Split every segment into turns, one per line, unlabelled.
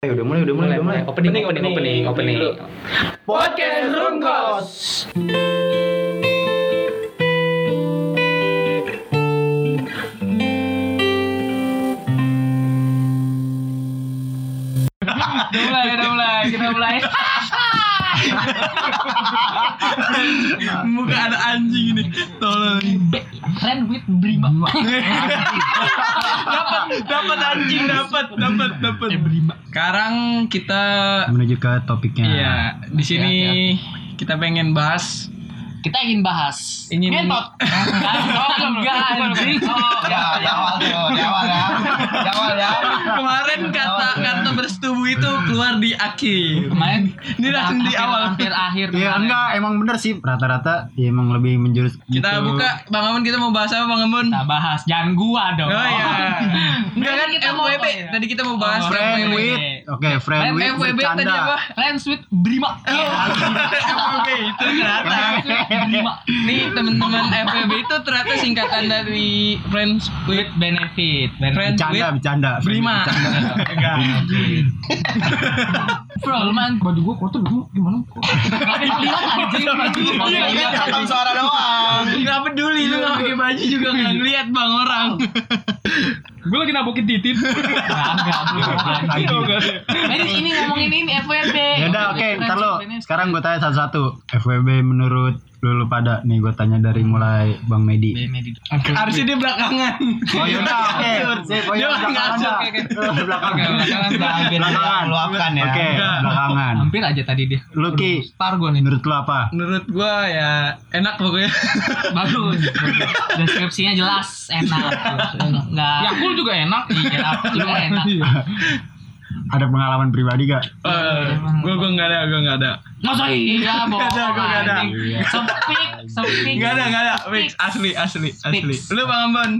Ayo Eh, udah mulai, udah mulai, udah mulai.
Opening, opening, opening, opening.
Podcast Rungkos.
Udah mulai, udah mulai, kita mulai.
Muka ada anjing ini. Tolong.
Friend with Brima.
dapat, dapat anjing, dapat, dapat, dapat.
Eh,
Sekarang kita
Menuju ke topiknya.
iya, di sini
Oke,
kita pengen bahas
Kita ingin bahas.
Ingin-
ngentot. Enggak, anjing.
Ya, di awal tuh, di awal ya. Di awal ya.
kemarin kata kata bersetubuh itu keluar di akhir.
Kemarin
Ini langsung di
hampir-
awal.
Hampir akhir.
Iya,
kemarin.
enggak, emang bener sih rata-rata ya emang lebih menjurus
Kita
gitu.
buka Bang Amun kita mau bahas apa Bang Amun?
Kita bahas jangan gua dong.
Oh iya. Enggak kan
Tadi kita mau
FWB.
apa ya?
Tadi kita mau bahas
Oh,
friend
FWB.
with Oke, friend
Friend
with
FWB tadi apa?
bercanda.
Friends with Brima.
FWB itu ternyata.
Friends with Brima.
Nih teman-teman FWB itu ternyata singkatan dari Friends
With
with
benefit.
Friend
Bercanda,
with
bercanda. friend
Brima.
with bercanda.
Enggak.
Bro, man. Baju gua kotor dulu gimana? Anjing, anjing.
Iya,
Ini
iya.
cakap suara doang.
Enggak peduli lu nggak pakai baju juga enggak ngeliat Bang orang.
Gue lagi nabokin titit. Enggak,
Anjing.
Ini ini ngomongin ini FWB.
Ya udah, oke, ntar lo. Sekarang gue tanya satu-satu. FWB menurut lu, lu pada nih gue tanya dari mulai Bang Medi.
Harusnya dia belakangan.
Oh yaudah, oke. Sip, oh,
Dia
yaudah,
nggak
belakangan
asal,
dah.
kayak gitu.
Belakangan.
Biar dia
Belakangan.
meluapkan ya.
Oke, belakangan.
Hampir aja tadi dia.
Lu Ki,
Star gue nih.
menurut lu apa?
Hmm. Menurut gua ya enak pokoknya.
Bagus. Deskripsinya jelas, enak. Enggak.
Ya,
Yakul juga enak. Iya, Yakul juga enak.
Iya.
Ada pengalaman pribadi gak?
Eh, gua gua enggak ada, gua enggak ada.
Masa iya, bohong.
Nggak ada, gua nggak ada.
Sepik, sepik.
Enggak ada, enggak ada. Fix asli asli asli.
Fix.
Lu Bang Ambon.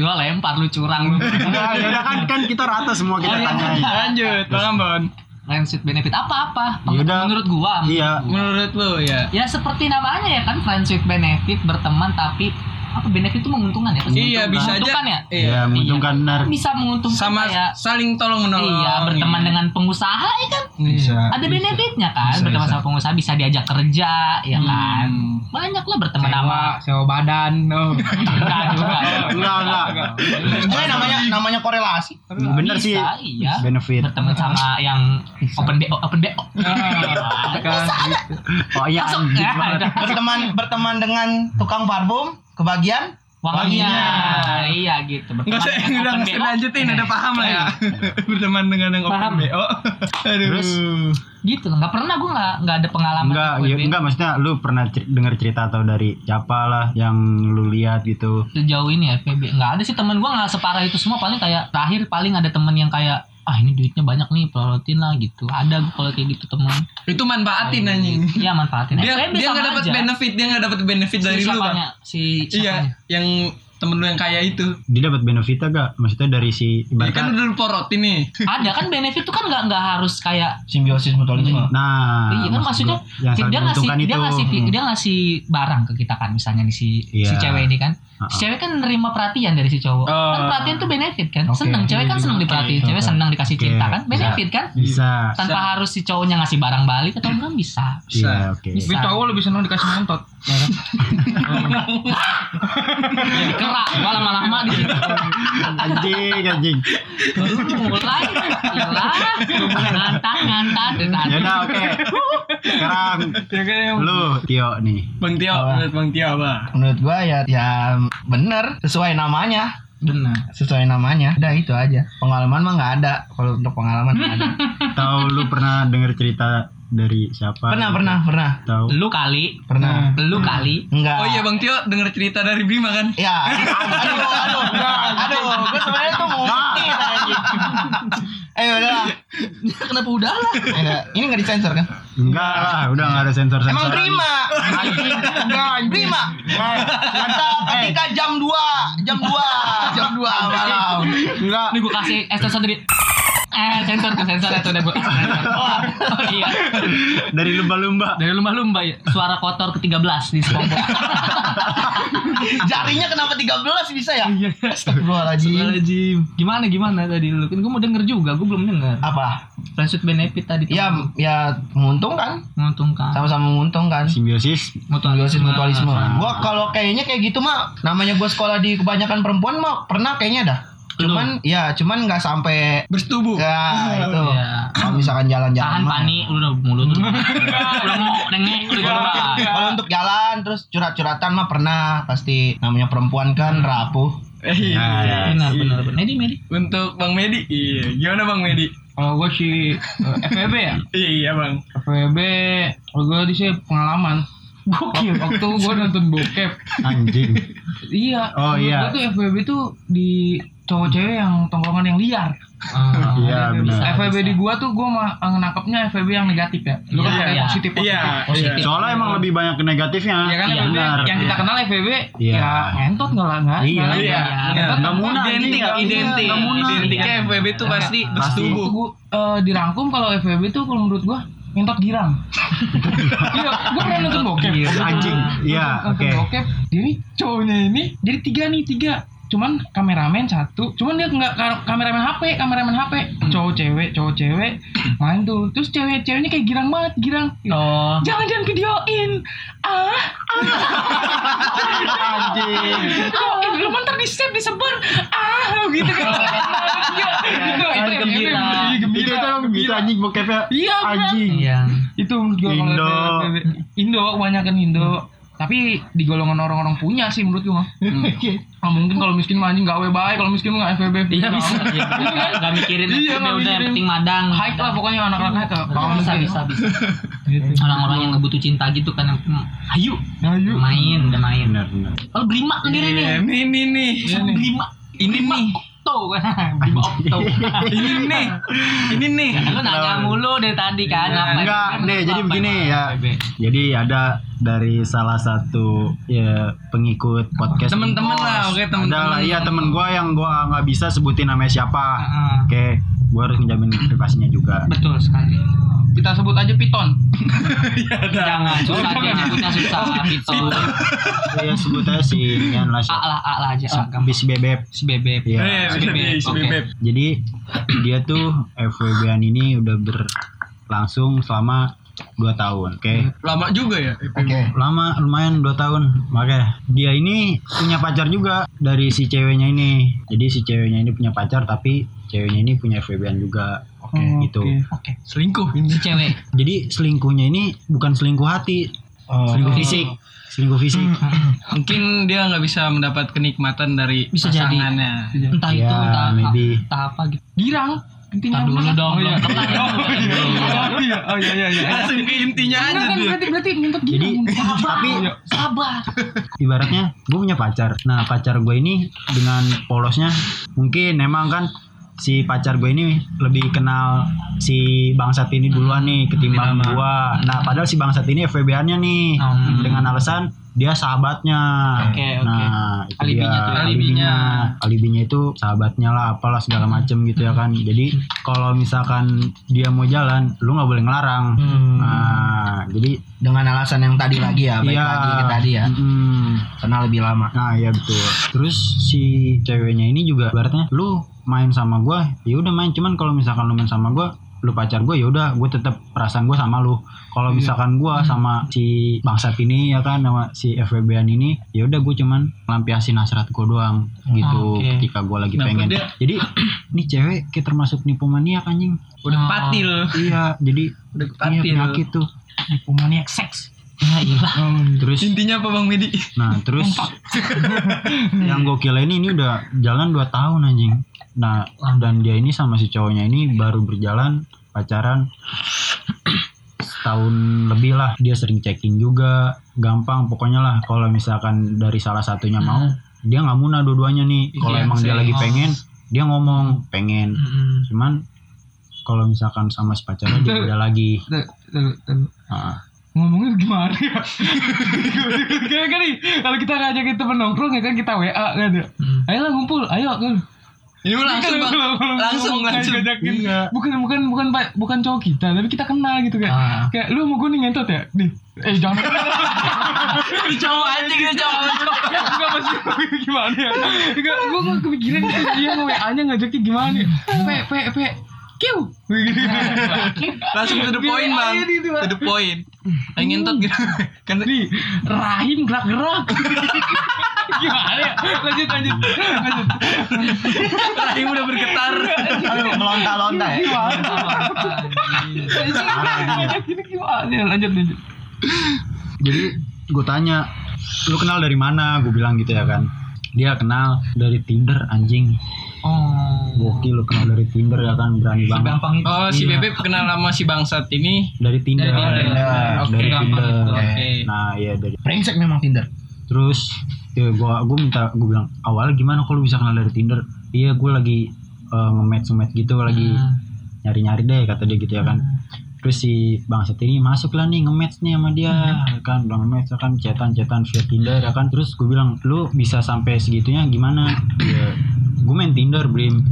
Gua lempar lu curang lu.
Enggak, ya udah kan kan kita rata semua kita
Oh, iya.
tanyain.
Lanjut, Bang Ambon.
Friends with benefit apa-apa.
Ya udah.
Menurut gua,
Iya.
Menurut lu ya.
Ya seperti namanya ya kan friends with benefit berteman tapi apa benefit itu menguntungkan ya? Pasti
Iya,
menguntungkan.
bisa
Menguntungkan
aja.
ya?
Ya, menguntungkan benar.
Bisa menguntungkan
Sama
kayak
saling tolong menolong.
iya berteman dengan pengusaha ya kan
Iya.
ada benefitnya kan
Bisa,
berteman
bisa.
sama pengusaha bisa diajak kerja ya kan
Hmm.
banyak lah berteman sama
sewa badan. Oh.
Bukan, bukan.
Enggak, enggak.
Ini namanya namanya korelasi.
Bener
Bisa,
sih.
iya.
Benefit.
berteman sama yang open bo open ya bo
Oh iya.
masuk
anjing
ya
banget.
Berteman berteman dengan tukang parfum, kebagian
wanginya
Wanginya.
iya gitu
Enggak usah,
dengan
udah
open
nggak usah
BO.
lanjutin, udah paham lah ya.
Iya.
Berteman dengan yang open
Paham.
BO. Aduh.
Terus?
gitu nggak pernah gue nggak nggak ada pengalaman
Enggak, ya,
FWB.
enggak maksudnya lu pernah cer- dengar cerita atau dari siapa lah yang lu lihat gitu.
sejauh ini ya FPB nggak ada sih temen gue nggak separah itu semua paling kayak terakhir paling ada temen yang kayak ah ini duitnya banyak nih pelorotin lah gitu ada gue kalau kayak gitu temen
Itu manfaatin anjing.
iya manfaatin
Dia
FPB
dia
sama
enggak dapat
aja.
benefit, dia enggak dapat benefit
si
dari lu, Bang.
siapanya si
Iya,
siapanya
yang temen lu yang kaya itu.
Dia dapat benefit agak? Maksudnya dari si
Dia kan
ibaratnya-
udah lu porotin nih.
ada kan benefit tuh kan nggak nggak harus kayak
simbiosis mutualisme.
Nah,
iya kan
maksud
maksudnya
gua, yang saling
dia ngasih
menguntungkan
dia
itu.
ngasih
Hmm.
dia ngasih barang ke kita kan misalnya nih si si
Iya.
cewek ini kan
Uh-uh.
si cewek kan nerima perhatian dari si cowok
Oh.
kan perhatian tuh benefit kan
Oke. iya
seneng cewek kan seneng diperhatiin cewek seneng dikasih
Oke,
cinta kan
bisa. Iya.
benefit kan
Bisa.
tanpa harus si cowoknya ngasih barang balik atau enggak bisa
Bisa.
Iya, oke.
Bisa. Iya.
Tapi cowok lebih seneng dikasih ngentot.
jadi kerak gua lama-lama di situ
Anjing, anjing.
mulai mulai ngantar ngantar
Ya
ngantar
udah, oke. Sekarang lu Tio nih.
kan Bang Tio, menurut Bang Tio apa?
Menurut gua ya ya bener sesuai namanya.
Benar.
Sesuai namanya. Udah itu aja. Pengalaman mah nggak ada. Kalau untuk pengalaman nggak ada.
Tahu lu pernah denger cerita dari siapa?
Pernah pernah pernah Hmm.
Tahu.
lu kali
pernah.
lu kali
Enggak.
Oh iya Bang Tio denger cerita dari Bima kan?
Ya, aduh, aduh, enggak, aduh, gue sebenarnya tuh mau ngerti anjing. Eh udah lah,
kenapa udah lah
Enggak, ini nggak disensor kan?
Enggak lah, udah enggak ada sensor-sensor.
Emang terima, anjing, Eh. enggak, terima.
Eh,
Kata ketika jam 2 jam 2 jam 2 malam.
Enggak.
ini gua kasih espresso tadi eh sensor ke sensor itu udah gue kasih sensor. oh iya
dari lumba-lumba
dari lumba-lumba ya. suara kotor ke 13 di sekompok
Jarinya kenapa 13 bisa ya? Astagfirullahaladzim.
Astagfirullahaladzim. gimana gimana tadi lu kan gue mau denger juga gue belum denger
Apa?
friends with benefit tadi tuh
Ya ya menguntungkan,
menguntungkan
sama-sama menguntungkan.
simbiosis
Simbiosis mutualisme.
Ah.
Gua kalau kayaknya kayak gitu mah namanya gua sekolah di kebanyakan perempuan mah pernah kayaknya dah. Cuman ya cuman nggak sampai
Bersetubuh.
ya itu.
Iya.
Kalau misalkan jalan-jalan.
tahan
mah.
panik lu udah mulut lu udah mau nengek udah keluar
Kalau untuk jalan terus curhat-curhatan mah pernah pasti namanya perempuan kan
Hmm.
rapuh.
Eh, iya.
ya, ya.
Iya, benar benar benar Medi Medi
Untuk Bang Medi. Iya, gimana Bang Medi?
Kalau gue sih eh, FEB ya,
Iya, Bang.
FEB, kalau gue di sini pengalaman. Gokil. Waktu gue nonton bokep.
anjing
Iya.
Oh, iya.
Gue tuh FEB tuh di cowok cewek yang tongkrongan yang liar.
Ah.
iya benar
FEB di gua tuh gua eh, mah nangkapnya FEB yang negatif ya. Lu
Iya,
kan ada
iya.
yang positif positif.
Iya,
Positif.
iya.
soalnya emang lebih banyak ke negatifnya
Ya kan
Iya,
FEB
benar.
yang kita
Iya.
kenal FEB
Iya.
ya ngentot enggak lah enggak.
Iya,
Nggak lah,
iya.
nggak.
Iya.
Ngentot,
Nggak muna,
Identik,
iya,
identik.
nggak muna.
Identiknya
Iya.
FWB tuh pasti
Pasti.
Itu
bersetubuh.
gua eh, dirangkum kalau FEB tuh kalau menurut gua ngentot girang. Iya, gua pernah nonton bokep.
anjing iya
Nonton
oke
bokep. Jadi cowoknya ini jadi tiga nih tiga. Cuman kameramen satu, cuman dia nggak ka- kameramen HP, kameramen HP. Cowok cewek, cowok cewek main tuh. Terus cewek ceweknya kayak girang banget, girang.
oh
Jangan jangan videoin. Ah,
anjing
videoin. Lu mantar di save disebar. Ah, gitu kan. Iya, gitu.
Kan
Itu
gembira.
FEB,
itu itu emang gitu anjing bokepnya
Iya, benar.
anjing
iya
itu menurut gua kalau
Indo.
FEB. Indo kebanyakan Indo tapi di golongan orang-orang punya sih menurut gua Ah, mungkin kalau miskin mah anjing gawe baik kalau miskin mah nggak FEB
Iya bisa. Iya, nggak- nggak mikirin
Iya,
iya, udah
nggak
yang
mikirin.
penting madang.
high lah pokoknya anak-anak high lah
Kalau bisa bisa bisa. Orang-orang yang nggak butuh cinta gitu kan yang hmm, ayo
ayo
main udah main.
benar benar
Kalau berima sendiri nih.
Iya, Ini nih nih.
Berima
Ini nih. Iya.
Okto. Berima Okto.
Ini nih. Ini nih.
Lu nanya kan mulu dari tadi kan apa?
Iya. enggak
emang
deh
lu
jadi
apa
begini
emang?
ya jadi ada dari salah satu ya pengikut podcast
Temen-temen lah, oke temen-temen.
ada lah iya temen gua yang gua nggak bisa sebutin namanya siapa
Heeh.
oke gua harus ngejamin privasinya juga
Betul sekali.
kita sebut aja Piton
Iya,
Jangan susah dia nyebutnya susah itu.
ya sebut aja si Nian lah
A
siapa.
lah A lah aja. A, gampang.
bis bebek
Si bebek.
Iya.
Eh,
Si Bebek,
si
oke.
Bebek.
jadi dia tuh FWB-an ini udah berlangsung selama 2 tahun oke
Lama juga ya.
Oke.
lama lumayan 2 tahun makanya dia ini punya pacar juga dari si ceweknya ini jadi si ceweknya ini punya pacar tapi ceweknya ini punya FWB-an juga oke gitu
Oke.
Selingkuh.
Si cewek.
jadi selingkuhnya ini bukan selingkuh hati selingkuh fisik selingkuh fisik
Mungkin dia nggak bisa mendapat kenikmatan dari
Bisa jadi.
pasangannya.
Entah
Ya,
itu entah,
maybe.
entah apa gitu.
girang intinya
Ntar dulu
apa?
dong,
oh iya
belum kelar.
oh iya oh iya iya iya
Langsung ke intinya
Enggak,
aja
kan
dia.
berarti berarti ngentot
Jadi,
girang
tapi
Sabar.
ibaratnya gue punya pacar. Nah pacar gue ini dengan polosnya mungkin emang kan si pacar gue ini lebih kenal si bangsat ini duluan nih ketimbang gue. Nah padahal si bangsat ini FWB-annya nih
Hmm.
dengan alasan dia sahabatnya.
Oke, oke.
Nah itu
Alibinya
dia.
tuh,
alibinya. Alibinya itu sahabatnya lah apalah segala macem gitu ya kan. Jadi kalau misalkan dia mau jalan lu nggak boleh ngelarang. Nah jadi
Dengan alasan yang tadi lagi ya, baik
Iya.
lagi ke tadi ya.
Mm.
Karena lebih lama.
Nah ya betul. Terus si ceweknya ini juga ibaratnya lu main sama gua, ya udah main. Cuman kalau misalkan lu main sama gua, lu pacar gua ya udah gue tetap perasaan gua sama lu. Kalau misalkan gua sama si bangsat ini ya kan sama si FWB-an ini, ya udah gue cuman lampiasin hasrat gua doang gitu
Oke.
ketika gua lagi
Kenapa
pengen.
dia-
Jadi nih cewek kayak termasuk nipomaniak anjing.
Udah
Oh.
patil.
Iya, jadi
Udah
iya
patil.
penyakit tuh.
maniak seks
Ya iyalah.
Terus
Intinya apa Bang Medi?
Nah terus yang gokil ini ini udah jalan 2 tahun anjing. Nah dan dia ini sama si cowoknya ini baru berjalan pacaran setahun lebih lah. Dia sering checking juga, gampang pokoknya lah kalau misalkan dari salah satunya mau dia nggak muna dua-duanya nih. Kalau
Iya,
emang dia
sih.
lagi pengen dia ngomong pengen.
Hmm.
Cuman kalau misalkan sama si pacarnya dia beda lagi.
Tuh, tuh, tuh.
Nah,
ngomongnya gimana ya? Kayak gini, kalau kita ngajakin temen nongkrong ya kan kita WA kan ya. Ayolah ngumpul, ayo kan.
Lu langsung bang, Iya, langsung langsung.
Ngajakin.
Iya.
Bukan bukan bukan Pak, bukan cowok kita, tapi kita kenal gitu kayak.
Ah.
Kayak lu mau gue nih ngentot ya? Nih. Eh jangan.
Lu cowok anjing lu cowok lu cowok.
Enggak masih gimana ya? Enggak, gue gua kepikiran gitu dia mau WA-nya ngajakin gimana. ya? Pe pe pe. Kiu.
Langsung to the point bang, to the point. Pengen ngentot gitu. Kan
Nih, rahim gerak-gerak. gimana ya? Lanjut lanjut. Lanjut.
rahim udah bergetar.
Aduh, melonta-lonta ya.
Ngajakin gimana? ya? Lanjut lanjut.
jadi gue tanya lu kenal dari mana gue bilang gitu ya kan dia kenal dari Tinder anjing
Oh,
gokil lu kenal dari Tinder ya kan berani banget
gampang itu.
Oh si
Iya.
Bebe kenal sama si bangsat ini.
dari Tinder
Dari Tinder.
dari
Oke, gampang
Tinder.
itu, oke.
nah iya dari
Brengsek memang Tinder.
terus ya gua gue minta gue bilang awal gimana kalau bisa kenal dari Tinder iya gue lagi eh, nge-match nge-match gitu lagi
Hmm.
nyari-nyari deh kata dia gitu ya kan
Hmm.
terus si bang Set ini masuk lah nih nge-match nih sama dia
Hmm.
ya kan udah nge-match ya kan cetan cetan via Tinder ya kan terus gue bilang lu bisa sampai segitunya gimana ya,
Iya.
gue main Tinder Brim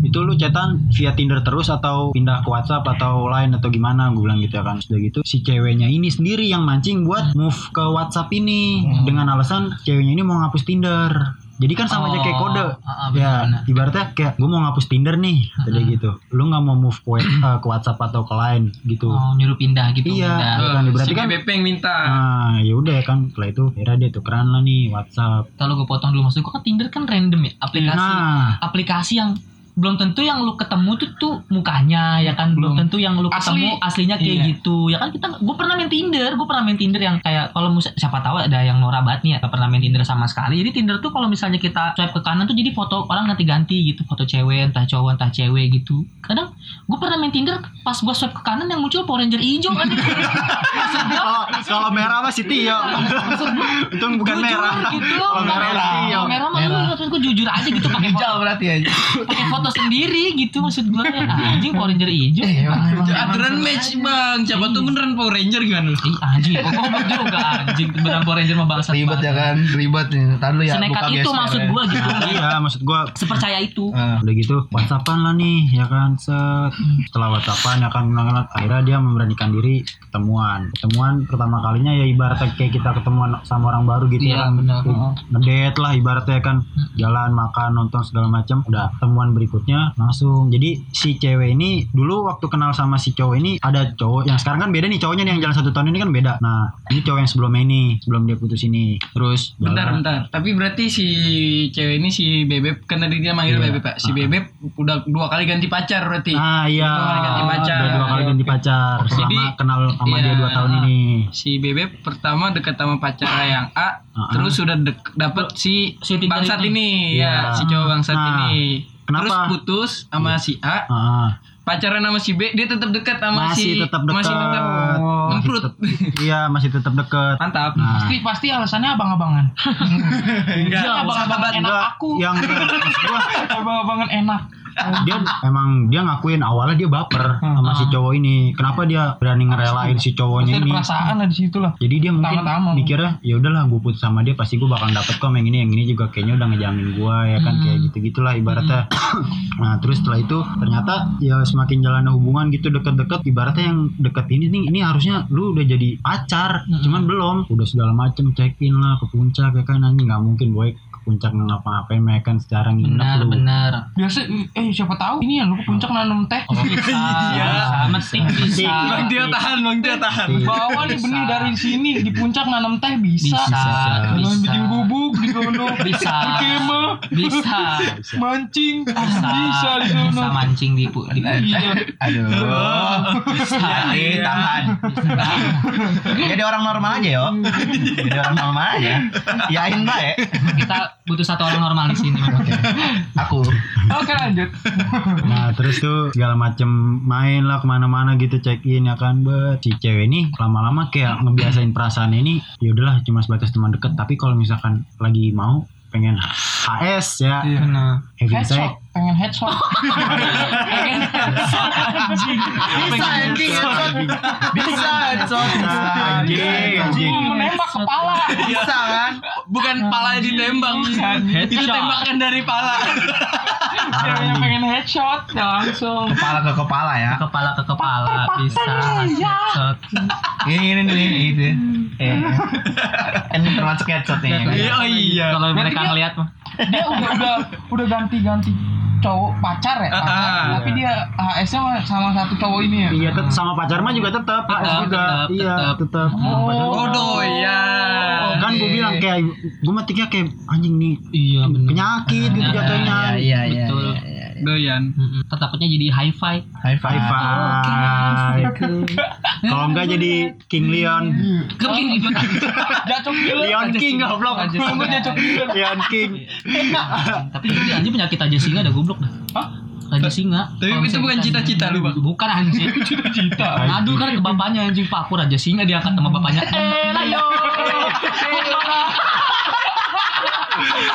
itu lu cetan via Tinder terus atau pindah ke WhatsApp atau lain atau gimana gue bilang gitu ya kan sudah gitu si ceweknya ini sendiri yang mancing buat move ke WhatsApp ini
Hmm.
dengan alasan ceweknya ini mau ngapus Tinder jadi kan sama aja kayak
Oh,
kode
ah, ah,
ya
benar-benar.
ibaratnya kayak gue mau ngapus Tinder nih tadi gitu lu nggak mau move ke, eh, ke WhatsApp atau ke lain gitu
Oh, nyuruh pindah gitu.
Iya.
pindah.
Ah, kan,
Eh,
berarti
si
kan-
Bebe yang minta.
nah ya udah kan setelah itu akhirnya dia tukeran lah nih WhatsApp
Kalau gue potong dulu maksud gue kan Tinder kan random ya aplikasi
nah
aplikasi yang belum tentu yang lu ketemu tuh tuh mukanya ya kan belum,
Belum.
tentu yang lu ketemu aslinya kayak
Iya.
gitu ya kan kita gue pernah main Tinder gue pernah main Tinder yang kayak kalau mus- siapa tahu ada yang Nora banget nih ya nggak pernah main Tinder sama sekali jadi Tinder tuh kalau misalnya kita swipe ke kanan tuh jadi foto orang ganti-ganti gitu foto cewek entah cowok entah cewek gitu kadang gue pernah main Tinder pas gue swipe ke kanan yang muncul Power Ranger hijau kan
kalau kalau merah mah si Tio itu bukan
Jujur
merah
gitu
kalau merah
merah
mah Tio
merah, merah mah lu maksud gue jujur aja gitu pakai foto
Hijau berarti ya.
pakai foto sendiri gitu maksud gue anjing Power Ranger hijau
Eh, emang, emang,
Aturan match bang, siapa tuh beneran Power Ranger gimana?
Ih, anjing, kok goblok juga anjing beneran Power Ranger mah bangsat
Ribet ya
banget.
kan, ribet nih. Tahan lu ya.
Senekat
buka
itu
gesper
maksud
ya.
gua gitu.
iya maksud gue
Sepercaya itu.
Eh,
udah gitu WhatsAppan lah nih ya kan set setelah WhatsAppan ya kan kenal-kenal, akhirnya dia memberanikan diri ketemuan ketemuan pertama kalinya ya ibaratnya kayak kita ketemuan sama orang baru gitu ya
Iya,
kan
benar.
ngedate lah ibaratnya kan jalan makan nonton segala macam udah temuan berikutnya langsung jadi si cewek ini dulu waktu kenal sama si cowok ini ada cowok yang sekarang kan beda nih cowoknya nih yang jalan satu tahun ini kan beda nah ini cowok yang sebelumnya ini sebelum dia putus ini terus
Bentar,
jalan.
bentar. Tapi berarti si cewek ini si Bebep kan tadi dia manggil
Iya.
Bebep Pak. Si Bebep udah dua kali ganti pacar berarti.
ah iya
Dua kali ganti pacar.
Udah dua kali
Oke,
ganti pacar selama
Jadi-
kenal sama dia
iya.
dua tahun ini
Si Bebep pertama dekat sama pacar yang A,
Ah,
terus sudah dek- dapet si,
Si Tinder
bangsat ini,
Iya.
ya, si cowok bangsat
Nah,
ini.
kenapa?
Terus putus sama si A,
Ah,
pacaran sama si B, dia tetap dekat sama
masih
si
tetap dekat
masih tetap
Masih
ngemprut.
tetap- iya masih tetap dekat
Mantap.
nah
Pasti pasti alasannya abang-abangan.
Enggak,
Iya,
bukan
abang-abang
sahabat.
enak
Nah, enggak
aku.
yang maksud gua
Abang-abangan enak.
dia emang dia ngakuin awalnya dia baper
Hmm.
sama si cowok ini kenapa dia berani ngerelain si
Pasti
cowoknya
ada
ini
perasaan lah di situ lah.
jadi dia mungkin
Tama-tama.
mikirnya ya udahlah gue putus sama dia pasti gue bakal dapet kok yang ini yang ini juga kayaknya udah ngejamin gue ya kan kayak
Hmm.
gitu gitulah ibaratnya nah terus setelah itu ternyata ya semakin jalannya hubungan gitu deket-deket ibaratnya yang deket ini nih ini harusnya lu udah jadi pacar
Hmm.
cuman belum udah segala macem check in lah ke puncak ya kan anjing nggak mungkin boy ke puncak ngapa-ngapain mereka kan secara nginep
Benar,
lu
benar. Oh,
Biasa eh siapa tahu ini ya lu ke puncak nanam teh.
Iya, penting bisa. Iya,
Bang Tio tahan, Bang Tio tahan.
Bawa nih benih
Bisa.
dari sini di puncak nanam teh bisa.
Bisa,
Nanam
bisa.
bikin bubuk di sono.
Bisa.
Di kemah.
Bisa.
Mancing ah,
Bisa.
bisa di
Bisa
sono.
mancing di pu- di
Iya.
Aduh.
Bisa.
Eh, tahan. iya. Jadi orang normal aja yo. Jadi orang normal aja. Yain ya? baik.
Kita butuh satu orang normal di sini memang.
Aku.
Oke lanjut.
Nah terus tuh segala macem main lah kemana-mana gitu check in ya kan bet si cewek ini lama-lama kayak ngebiasain perasaan ini ya udahlah cuma sebatas teman deket tapi kalau misalkan lagi mau pengen HS ya
Iya.
heavy
Headshot.
attack
Pengen headshot.
anjing.
Bisa anjing headshot. Bisa headshot.
Anjing, anjing.
Cuma menembak kepala.
Bisa kan?
Bukan pala ditembak. Itu tembakan dari pala.
Ceweknya pengen headshot ya langsung.
Kepala ke kepala ya.
Kepala ke kepala bisa. Headshot.
Ini ini ini gitu. Eh. Ini termasuk headshot nih. ya.
Iya, oh iya.
Kalau
Berarti
mereka
dia-
ngelihat mah.
Dia udah udah udah ganti-ganti cowok pacar ya, pacar.
Ah.
tapi dia HS-nya sama- sama satu cowok ini ya.
Iya, tet sama pacar mah juga tetap,
Tetep,
HS juga.
tetep,
Iya,
tetep.
tetap.
Oh.
Oh doyan.
Kan gue bilang kayak gue mah tiga kayak anjing nih
Iya benar.
penyakit gitu
Iya,
jatuhnya.
Iya iya iya.
Betul.
iya.
Doyan.
Mm-mm. Ntar takutnya jadi high five.
High
High
five.
five. Kalau enggak jadi King Leon.
Keping gitu.
Jacok gila.
Leon King goblok.
Tunggu jacok gila.
Leon King.
Tapi ini anjing penyakit raja singa dah goblok dah.
Hah?
Raja singa.
Tapi
Kalau
itu bukan
misalnya-
cita-cita lu, Bang.
Bukan anjing.
Cita.
Ngadu kan ke bapaknya anjing Pak aku raja singa diangkat sama bapaknya. Eh, lah yo.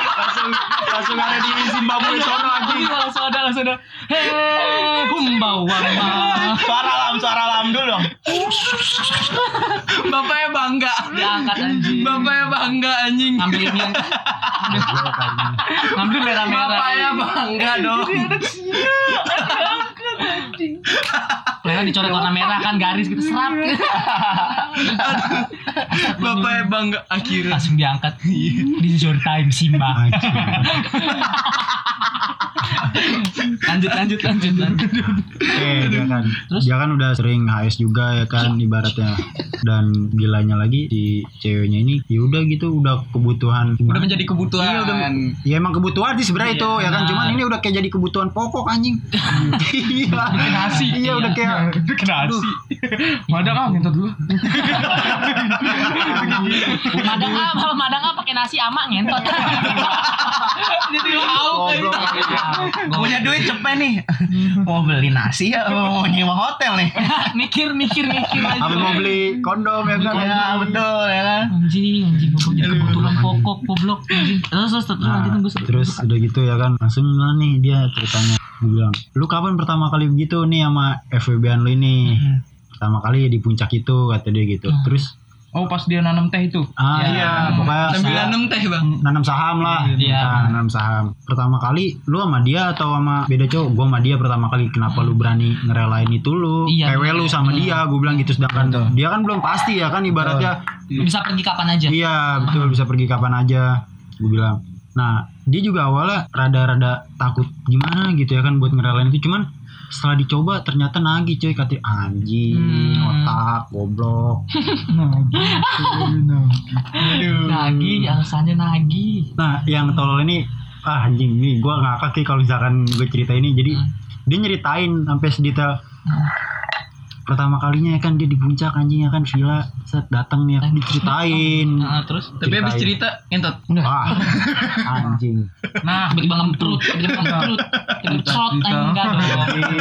Langsung langsung ada di Zimbabwe sono anjing.
Anjing Iya, langsung ada langsung ada. Heh, humbawa.
Suara lam, suara lam dulu dong.
Bapaknya bangga.
Diangkat anjing.
Bapaknya bangga anjing.
Ngambil ini yang
Goblok, anjing.
ngambil merah-merah.
Bapaknya bangga dong.
Merah dicoret warna merah kan garis gitu serap.
Bapaknya bangga akhirnya.
Langsung diangkat. This is your time Simba.
Anjing.
Lanjut lanjut lanjut lanjut.
Oke, dia kan. Dia kan udah sering HS juga ya kan ibaratnya. Dan gilanya lagi si ceweknya ini ya udah gitu udah kebutuhan.
Udah menjadi kebutuhan.
Iya, udah- Ya emang kebutuhan sih sebenarnya itu ya kan cuman ini udah kayak jadi kebutuhan pokok anjing. Iya.
nasi.
Iya udah kayak
Itu kena nasi. Madang ah minta dulu.
Madang apa? Madang apa pakai nasi ama ngentot.
Jadi au.
goblok.
Gak punya duit cepet nih. Mau beli nasi ya, mau nyewa hotel nih.
mikir mikir mikir aja.
Apa mau beli kondom ya kan?
Ya betul ya kan.
Anjing, anjing goblok jadi kebutuhan pokok, goblok anjing. Terus terus terus
Nah,
nanti tunggu
terus udah gitu ya kan langsung lah nih dia ceritanya Dia bilang lu kapan pertama kali begitu nih sama FWB-an lu ini pertama kali di puncak itu kata dia gitu
Hmm.
terus
Mm-hmm. Oh pas dia nanam teh itu.
ah
Ya.
iya pokoknya
Sambil
nanam.
nanem teh bang.
nanam saham lah
Iya.
Nah, nanam saham pertama kali lu sama dia atau sama beda cowok gua sama dia pertama kali kenapa
Mm.
lu berani ngerelain itu lu
Iya,
PW lu sama dia gua bilang gitu sedangkan dia kan belum pasti ya kan ibaratnya
Bisa pergi kapan aja.
Iya betul bisa pergi kapan aja Gue bilang Nah dia juga awalnya rada-rada takut gimana gitu ya kan buat ngerelain itu Cuman setelah dicoba ternyata nagih cuy kata anjing otak goblok
Nagi, alasannya nagi.
nah yang tolol ini ah anjing nih gua ngakak sih kalau misalkan gue cerita ini jadi dia nyeritain sampai sedetail pertama kalinya ya kan dia di puncak anjing ya kan villa set datang nih ya kan diceritain
Nah, terus
Tapi
Ceritain.
habis cerita Ah. entot.
wah anjing
Nah,
tiba-tiba ngemprut, tiba-tiba ngemprut, tiba-tiba cerot anjing enggak dong.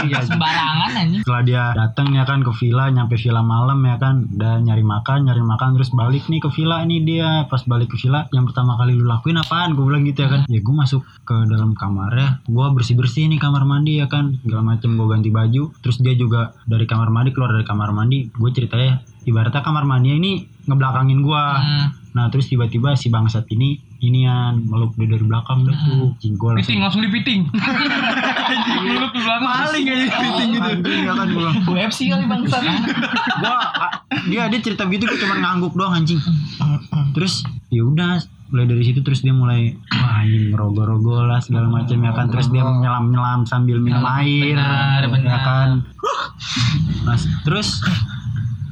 Iya,
Sembarangan anjing.
setelah dia datang ya kan ke villa nyampe villa malam ya kan udah nyari makan nyari makan terus balik nih ke villa nih dia pas balik ke villa yang pertama kali lu lakuin apaan gue bilang gitu ya kan ya gue masuk ke dalam kamarnya gue bersih bersih nih kamar mandi ya kan segala macem gue ganti baju terus dia juga dari kamar mandi keluar dari kamar mandi gue ceritanya ibaratnya kamar mandi ini ngebelakangin gue
Hmm.
nah terus tiba-tiba si bangsat ini inian meluk dia dari belakang dah tuh
Hmm.
jinggol
piting langsung dipiting. Mulut di belakang.
paling aja Oh, anjing ya kan gue bilang
UFC kali bangsa.
gua a- dia dia cerita gitu gue cuma ngangguk doang anjing terus ya udah mulai dari situ terus dia mulai wah anjing rogo-rogo lah segala macam ya kan terus dia nyelam-nyelam sambil minum air
Oh. benar,
ya
benar.
kan Mas, terus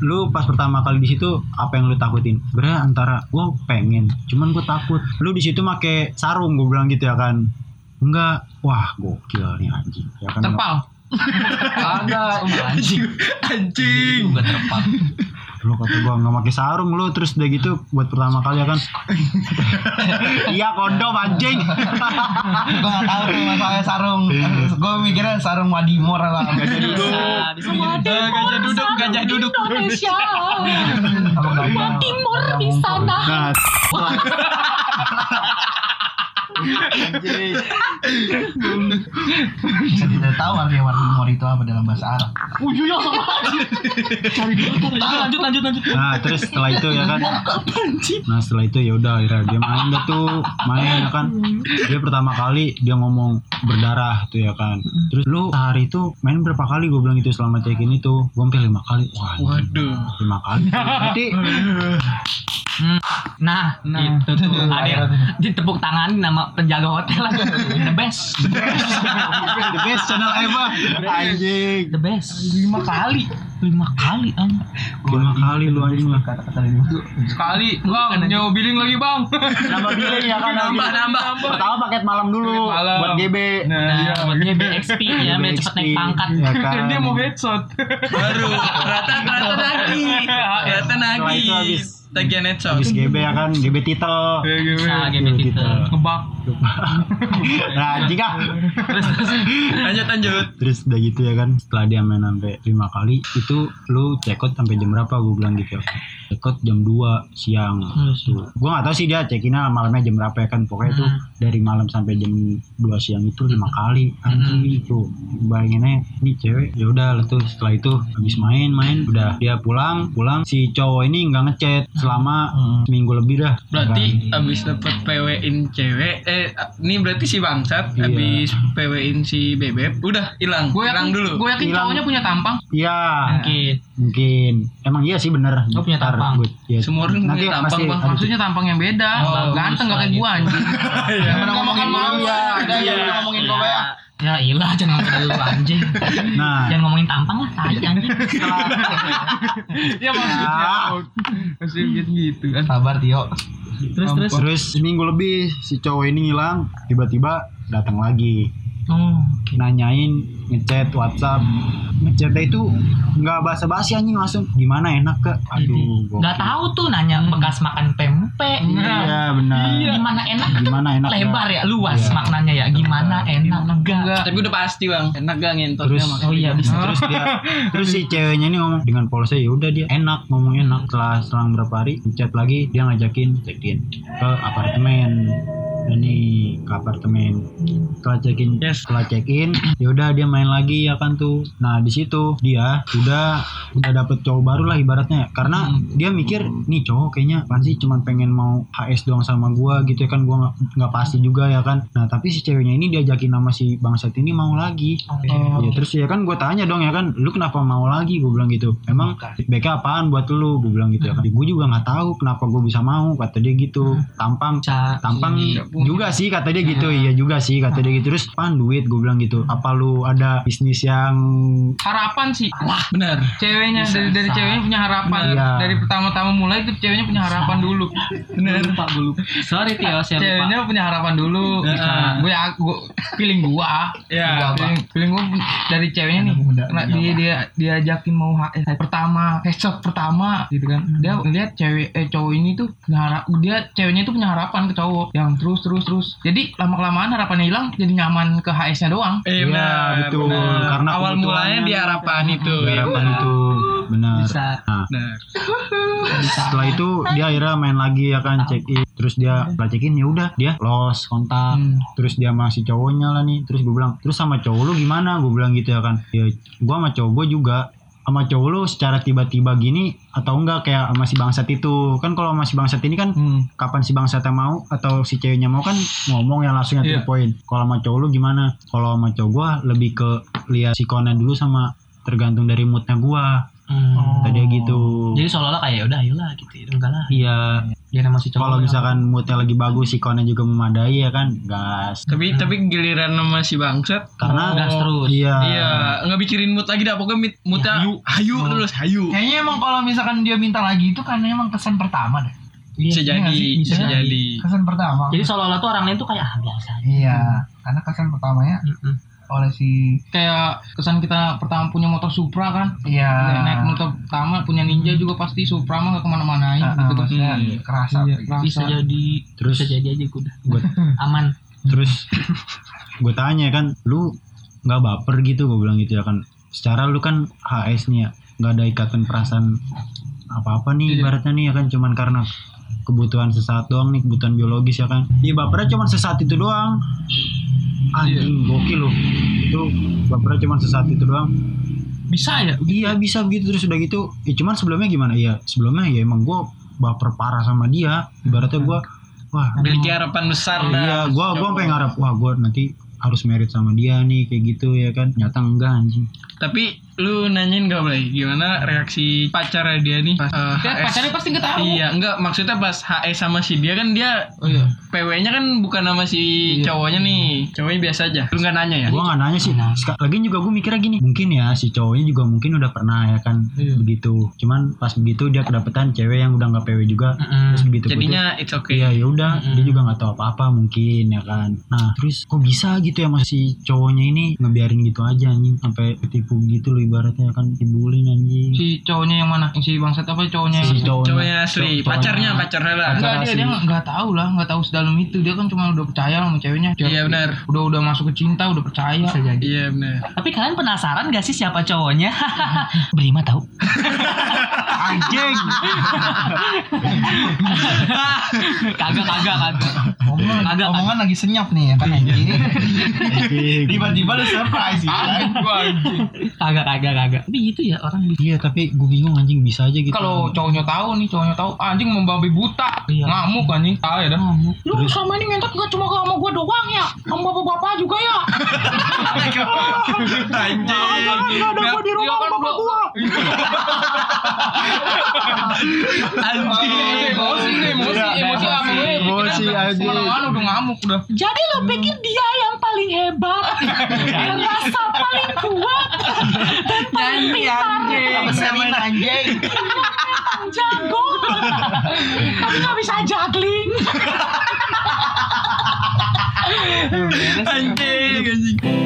lu pas pertama kali di situ apa yang lu takutin? Sebenarnya antara gue pengen, cuman gue takut. Lu di situ make sarung gue bilang gitu ya kan. Enggak, wah gokil nih anjing. Ya kan,
Terpal.
Kagak anjing.
Anjing.
Juga terpap.
lu kata gua nggak pakai sarung lu terus udah gitu buat pertama kali ya kan iya kondom anjing
Gue gak tau tuh masalah sarung. Gue mikirnya sarung Wadimor apa.
Bisa, bisa.
Eh, Gajah duduk, gajah duduk.
Apa Timur di sana.
nah setelah,
Anjir. Saya tidak tahu artinya warna humor itu apa dalam bahasa Arab.
Ujungnya sama aja. Cari dulu tuh. Lanjut lanjut lanjut.
Nah terus setelah itu ya kan Nah setelah itu ya udah akhirnya dia main dah tuh Main ya kan Dia pertama kali dia ngomong berdarah tuh ya kan Terus lu sehari itu main berapa kali gue bilang itu selama check in itu Gue hampir lima kali Wah,
Waduh.
Lima kali Berarti
Nah, itu tuh ada yang ditepuk tangan nama penjaga hotel aja. The best,
the best channel ever Anjing
the best.
Lima kali.
Lima kali an.
Lima kali lu anjing lah
Kata-kata dari dulu.
Sekali. Bang, nyawa billing lagi bang.
Nambah billing ya kan
Nambah nambah.
Pertama paket malam dulu
Paket malam.
Buat GB
Nah,
Nah, buat dia BXP ya, biar cepet naik pangkat.
ya kan.
dia mau headshot.
Baru rata rata lagi. Rata
Setelah
lagi.
itu habis.
Tagihan headshot.
Habis GB ya kan GB titel
Kayak gitu.
Nah, game kita.
Ngebak.
Nah anjing ah
Terus terus.
Lanjut lanjut.
Terus udah gitu ya kan Setelah dia main sampai 5 kali Itu lu check out sampai jam berapa Gue bilang gitu Check out jam 2 siang
Nah.
Tuh. Gue gak tau sih dia check in malamnya jam berapa ya kan Pokoknya itu dari malam sampai jam 2 siang itu 5 kali Anjing itu Bayanginnya Ini cewek ya udah lah tuh Setelah itu habis main-main Udah dia pulang Pulang si cowok ini gak ngechat Selama seminggu lebih dah
Berarti abis dapet PW-in cewek Eh ini berarti si Bangsat
Iya.
Abis PW-in si Bebep Udah hilang
Gue
Hilang
yakin,
dulu
gue
Kan.
yakin
Hilang.
kan cowoknya punya tampang.
Iya
Mungkin.
Mungkin emang iya sih bener.
Oh, punya
Ntar
tampang.
gua- ya.
Semua orang
Nanti
punya tampang,
pasti
Bang.
ada-
Maksudnya tampang yang beda.
Oh,
Ah, Ganteng gak kayak
bagus
gue anjing.
Iya.
Yang pernah ngomongin
Makan
dulu
malam.
ya. Ada yang
Iya.
pernah ngomongin gue ya.
Ya ilah jangan ngomongin dulu anjing.
Nah.
Jangan ngomongin tampang lah, tai anjing.
Ya maksudnya. Masih gitu kan.
Sabar Tio.
Terus terus.
Terus seminggu lebih si cowok ini hilang, tiba-tiba datang lagi.
Oh,
Nanyain ngechat WhatsApp. Ngechatnya itu nggak basa-basi anjing langsung gimana enak ke aduh gokil.
nggak tahu tuh nanya bekas makan pempek. Nah,
Iya benar.
Gimana enak?
Gimana enak Kak?
lebar ya luas
Iya.
maknanya ya gimana enak enggak
Tapi udah pasti bang Enak gak ngentotnya
Terus
Bang?
oh iya bisa
terus dia terus si ceweknya ini ngomong dengan polosnya ya udah dia enak ngomong enak setelah selang berapa hari chat lagi dia ngajakin check in ke apartemen ini ke apartemen setelah check in
Yes.
setelah check in ya udah dia main lagi ya kan tuh nah di situ dia udah udah dapet cowok baru lah ibaratnya karena dia mikir nih cowok kayaknya apaan sih cuman pengen mau HS doang sama gua gitu ya kan gua nggak- nggak pasti juga ya kan nah tapi si ceweknya ini diajakin nama si bangsat ini mau lagi Ya terus ya kan gue tanya dong ya kan lu kenapa mau lagi gue bilang gitu emang feedbacknya apaan buat lu gue bilang gitu ya kan gue juga nggak tahu kenapa gue bisa mau kata dia gitu tampang
Ca-
tampang
sini.
juga sih kata dia gitu iya juga sih kata dia gitu terus pan duit gue bilang gitu apa lu ada bisnis yang
Harapan sih.
Wah benar
Ceweknya dari dari
bisa.
ceweknya punya harapan.
Iya.
Dari pertama-tama mulai itu ceweknya punya harapan dulu.
Benar Lupa gue lupa
sorry Tio saya lupa
Ceweknya punya harapan dulu.
Bisa.
Gue ya
Iya.
gue feeling gua.
Ya
Feeling, feeling gue dari ceweknya nih. Nah, dia dia diajakin mau HS pertama, headshot pertama gitu kan. Dia lihat cewek eh cowok ini tuh punya harap dia ceweknya itu punya harapan ke cowok yang terus terus terus. Jadi lama kelamaan harapannya hilang jadi nyaman ke HS-nya doang.
Iya
Iya, betul. Karena kan
Karena Awal
kebutuhannya-
mulanya di harapan itu ya.
harapan itu gitu? benar
bisa
nah
Benar
setelah itu dia akhirnya main lagi ya kan check in terus dia setelah check in ya udah dia lost kontak
Hmm.
terus dia masih cowoknya lah nih terus gue bilang terus sama cowok lu gimana gue bilang gitu ya kan ya gue sama cowok gue juga sama cowok lu secara tiba-tiba gini atau enggak kayak sama si bangsat itu kan kalau sama si bangsat ini kan
Hmm.
kapan si bangsatnya mau atau si ceweknya mau kan ngomong yang langsung
Iya.
ya to the point kalau sama cowok lu gimana kalau sama cowok gue lebih ke lihat sikonnya dulu sama tergantung dari moodnya gue
Hmm. Oh.
tadi gitu
jadi seolah-olah kayak udah ayolah gitu ya enggak lah
iya
dia nama si cowok
kalau misalkan moodnya lagi bagus ikonnya juga memadai ya kan gas
Tapi tapi giliran sama si Bangsat
karena
gas terus
iya
Iya, nggak mikirin mood lagi dah. Pokoknya mit- moodnya hayu, hayu terus, hayu.
Kayaknya emang kalau misalkan dia minta lagi itu karena emang kesan pertama deh.
Bisa
iya
jadi,
nggak sih?
bisa
Iya.
jadi.
Kesan pertama.
jadi seolah-olah tuh orang lain tuh kayak ah biasa aja
Iya, karena kesan pertamanya
Mm-mm.
oleh si
Kayak kesan kita pertama punya motor Supra kan.
Nah.
Naik- naik
iya.
motor pertama punya Ninja juga pasti Supra mah gak kemana-manain
Ah, ah,
gitu kan.
maksudnya
Hmm.
kerasa
Iya,
gitu.
kerasa.
bisa jadi
Terus-
bisa jadi aja kuda
Gua-
aman
terus gue tanya kan lu nggak baper gitu gue bilang gitu ya kan secara lu kan
Iya.
HS nih ya nggak ada ikatan perasaan apa apa nih ibaratnya nih ya kan cuman karena kebutuhan sesaat doang nih kebutuhan biologis ya kan iya bapernya cuma sesaat itu doang
Iya.
anjing gokil loh itu bapernya cuma sesaat itu doang
Bisa ya?
Iya bisa begitu terus udah gitu. Ya, cuman sebelumnya gimana? Iya sebelumnya ya emang gue baper parah sama dia. Ibaratnya gue
Iya.
wah
Memiliki harapan besar
iya gue gue sampai ngarep wah gue nanti harus merit sama dia nih kayak gitu ya kan. Nyata enggak anjing.
Tapi lu nanyain gak boleh gimana reaksi pacarnya dia nih pas eh, HS?
Ya, pacarnya pasti nggak tahu.
Iya, enggak maksudnya pas HE sama si dia kan dia
Oh iya.
PW-nya kan bukan sama si cowoknya nih. Cowoknya biasa aja. Lu enggak nanya ya?
Gue nggak nanya sih. Sek- Lagi juga gue mikirnya gini. Mungkin ya si cowoknya juga mungkin udah pernah ya kan
Iya.
begitu. Cuman pas begitu dia kedapetan cewek yang udah nggak PW juga. Terus begitu
Jadinya it's okay.
Iya ya udah dia juga nggak tahu apa-apa mungkin ya kan. Nah terus kok bisa gitu ya masih cowoknya ini ngebiarin gitu aja anjing sampai ketipu gitu loh ibaratnya ya kan dibulin anjing.
Si cowoknya yang mana? Yang Si bangsat apa cowoknya? yang-
Cowoknya asli,
cowoknya-
pacarnya pacarnya lah.
Enggak dia
asli.
dia nggak- nggak tahu lah, nggak tahu sedalam itu. Dia kan cuma udah percaya sama ceweknya. Dia-
Iya benar.
Udah udah masuk ke cinta, udah percaya.
Bisa jadi.
Iya benar.
Tapi kalian penasaran gak sih siapa cowoknya? Berima tahu.
anjing.
Kagak kagak kagak. Kagak kagak.
Omongan lagi senyap nih ya kan anjing.
Anjing.
Tiba-tiba ada surprise gitu kan.
Kagak kagak kagak. Tapi gitu ya orang bisa.
Iya tapi gue bingung anjing bisa aja gitu.
Kalau Oh, cowoknya tahu nih, cowoknya tahu anjing membabi buta.
Iya.
Nah,
Ngamuk anjing. Ah ya dah.
Kamu.
Lu selama ini ngentot gak cuma sama gua doang ya? Sama bapak-bapak juga ya?
Anjing.
Ada gua di rumah sama bapak gua.
Anjing.
Emosi nih, emosi,
Udah,
emosi
udah,
apa gue?
emosi, anjing.
Mana-mana udah ngamuk udah.
Jadi lo pikir
Hmm.
dia yang paling hebat, yang
Iya.
rasa paling kuat, dan paling pintar,
Serina anjing.
paling jago, tapi nggak bisa juggling.
Anjing. Anjing.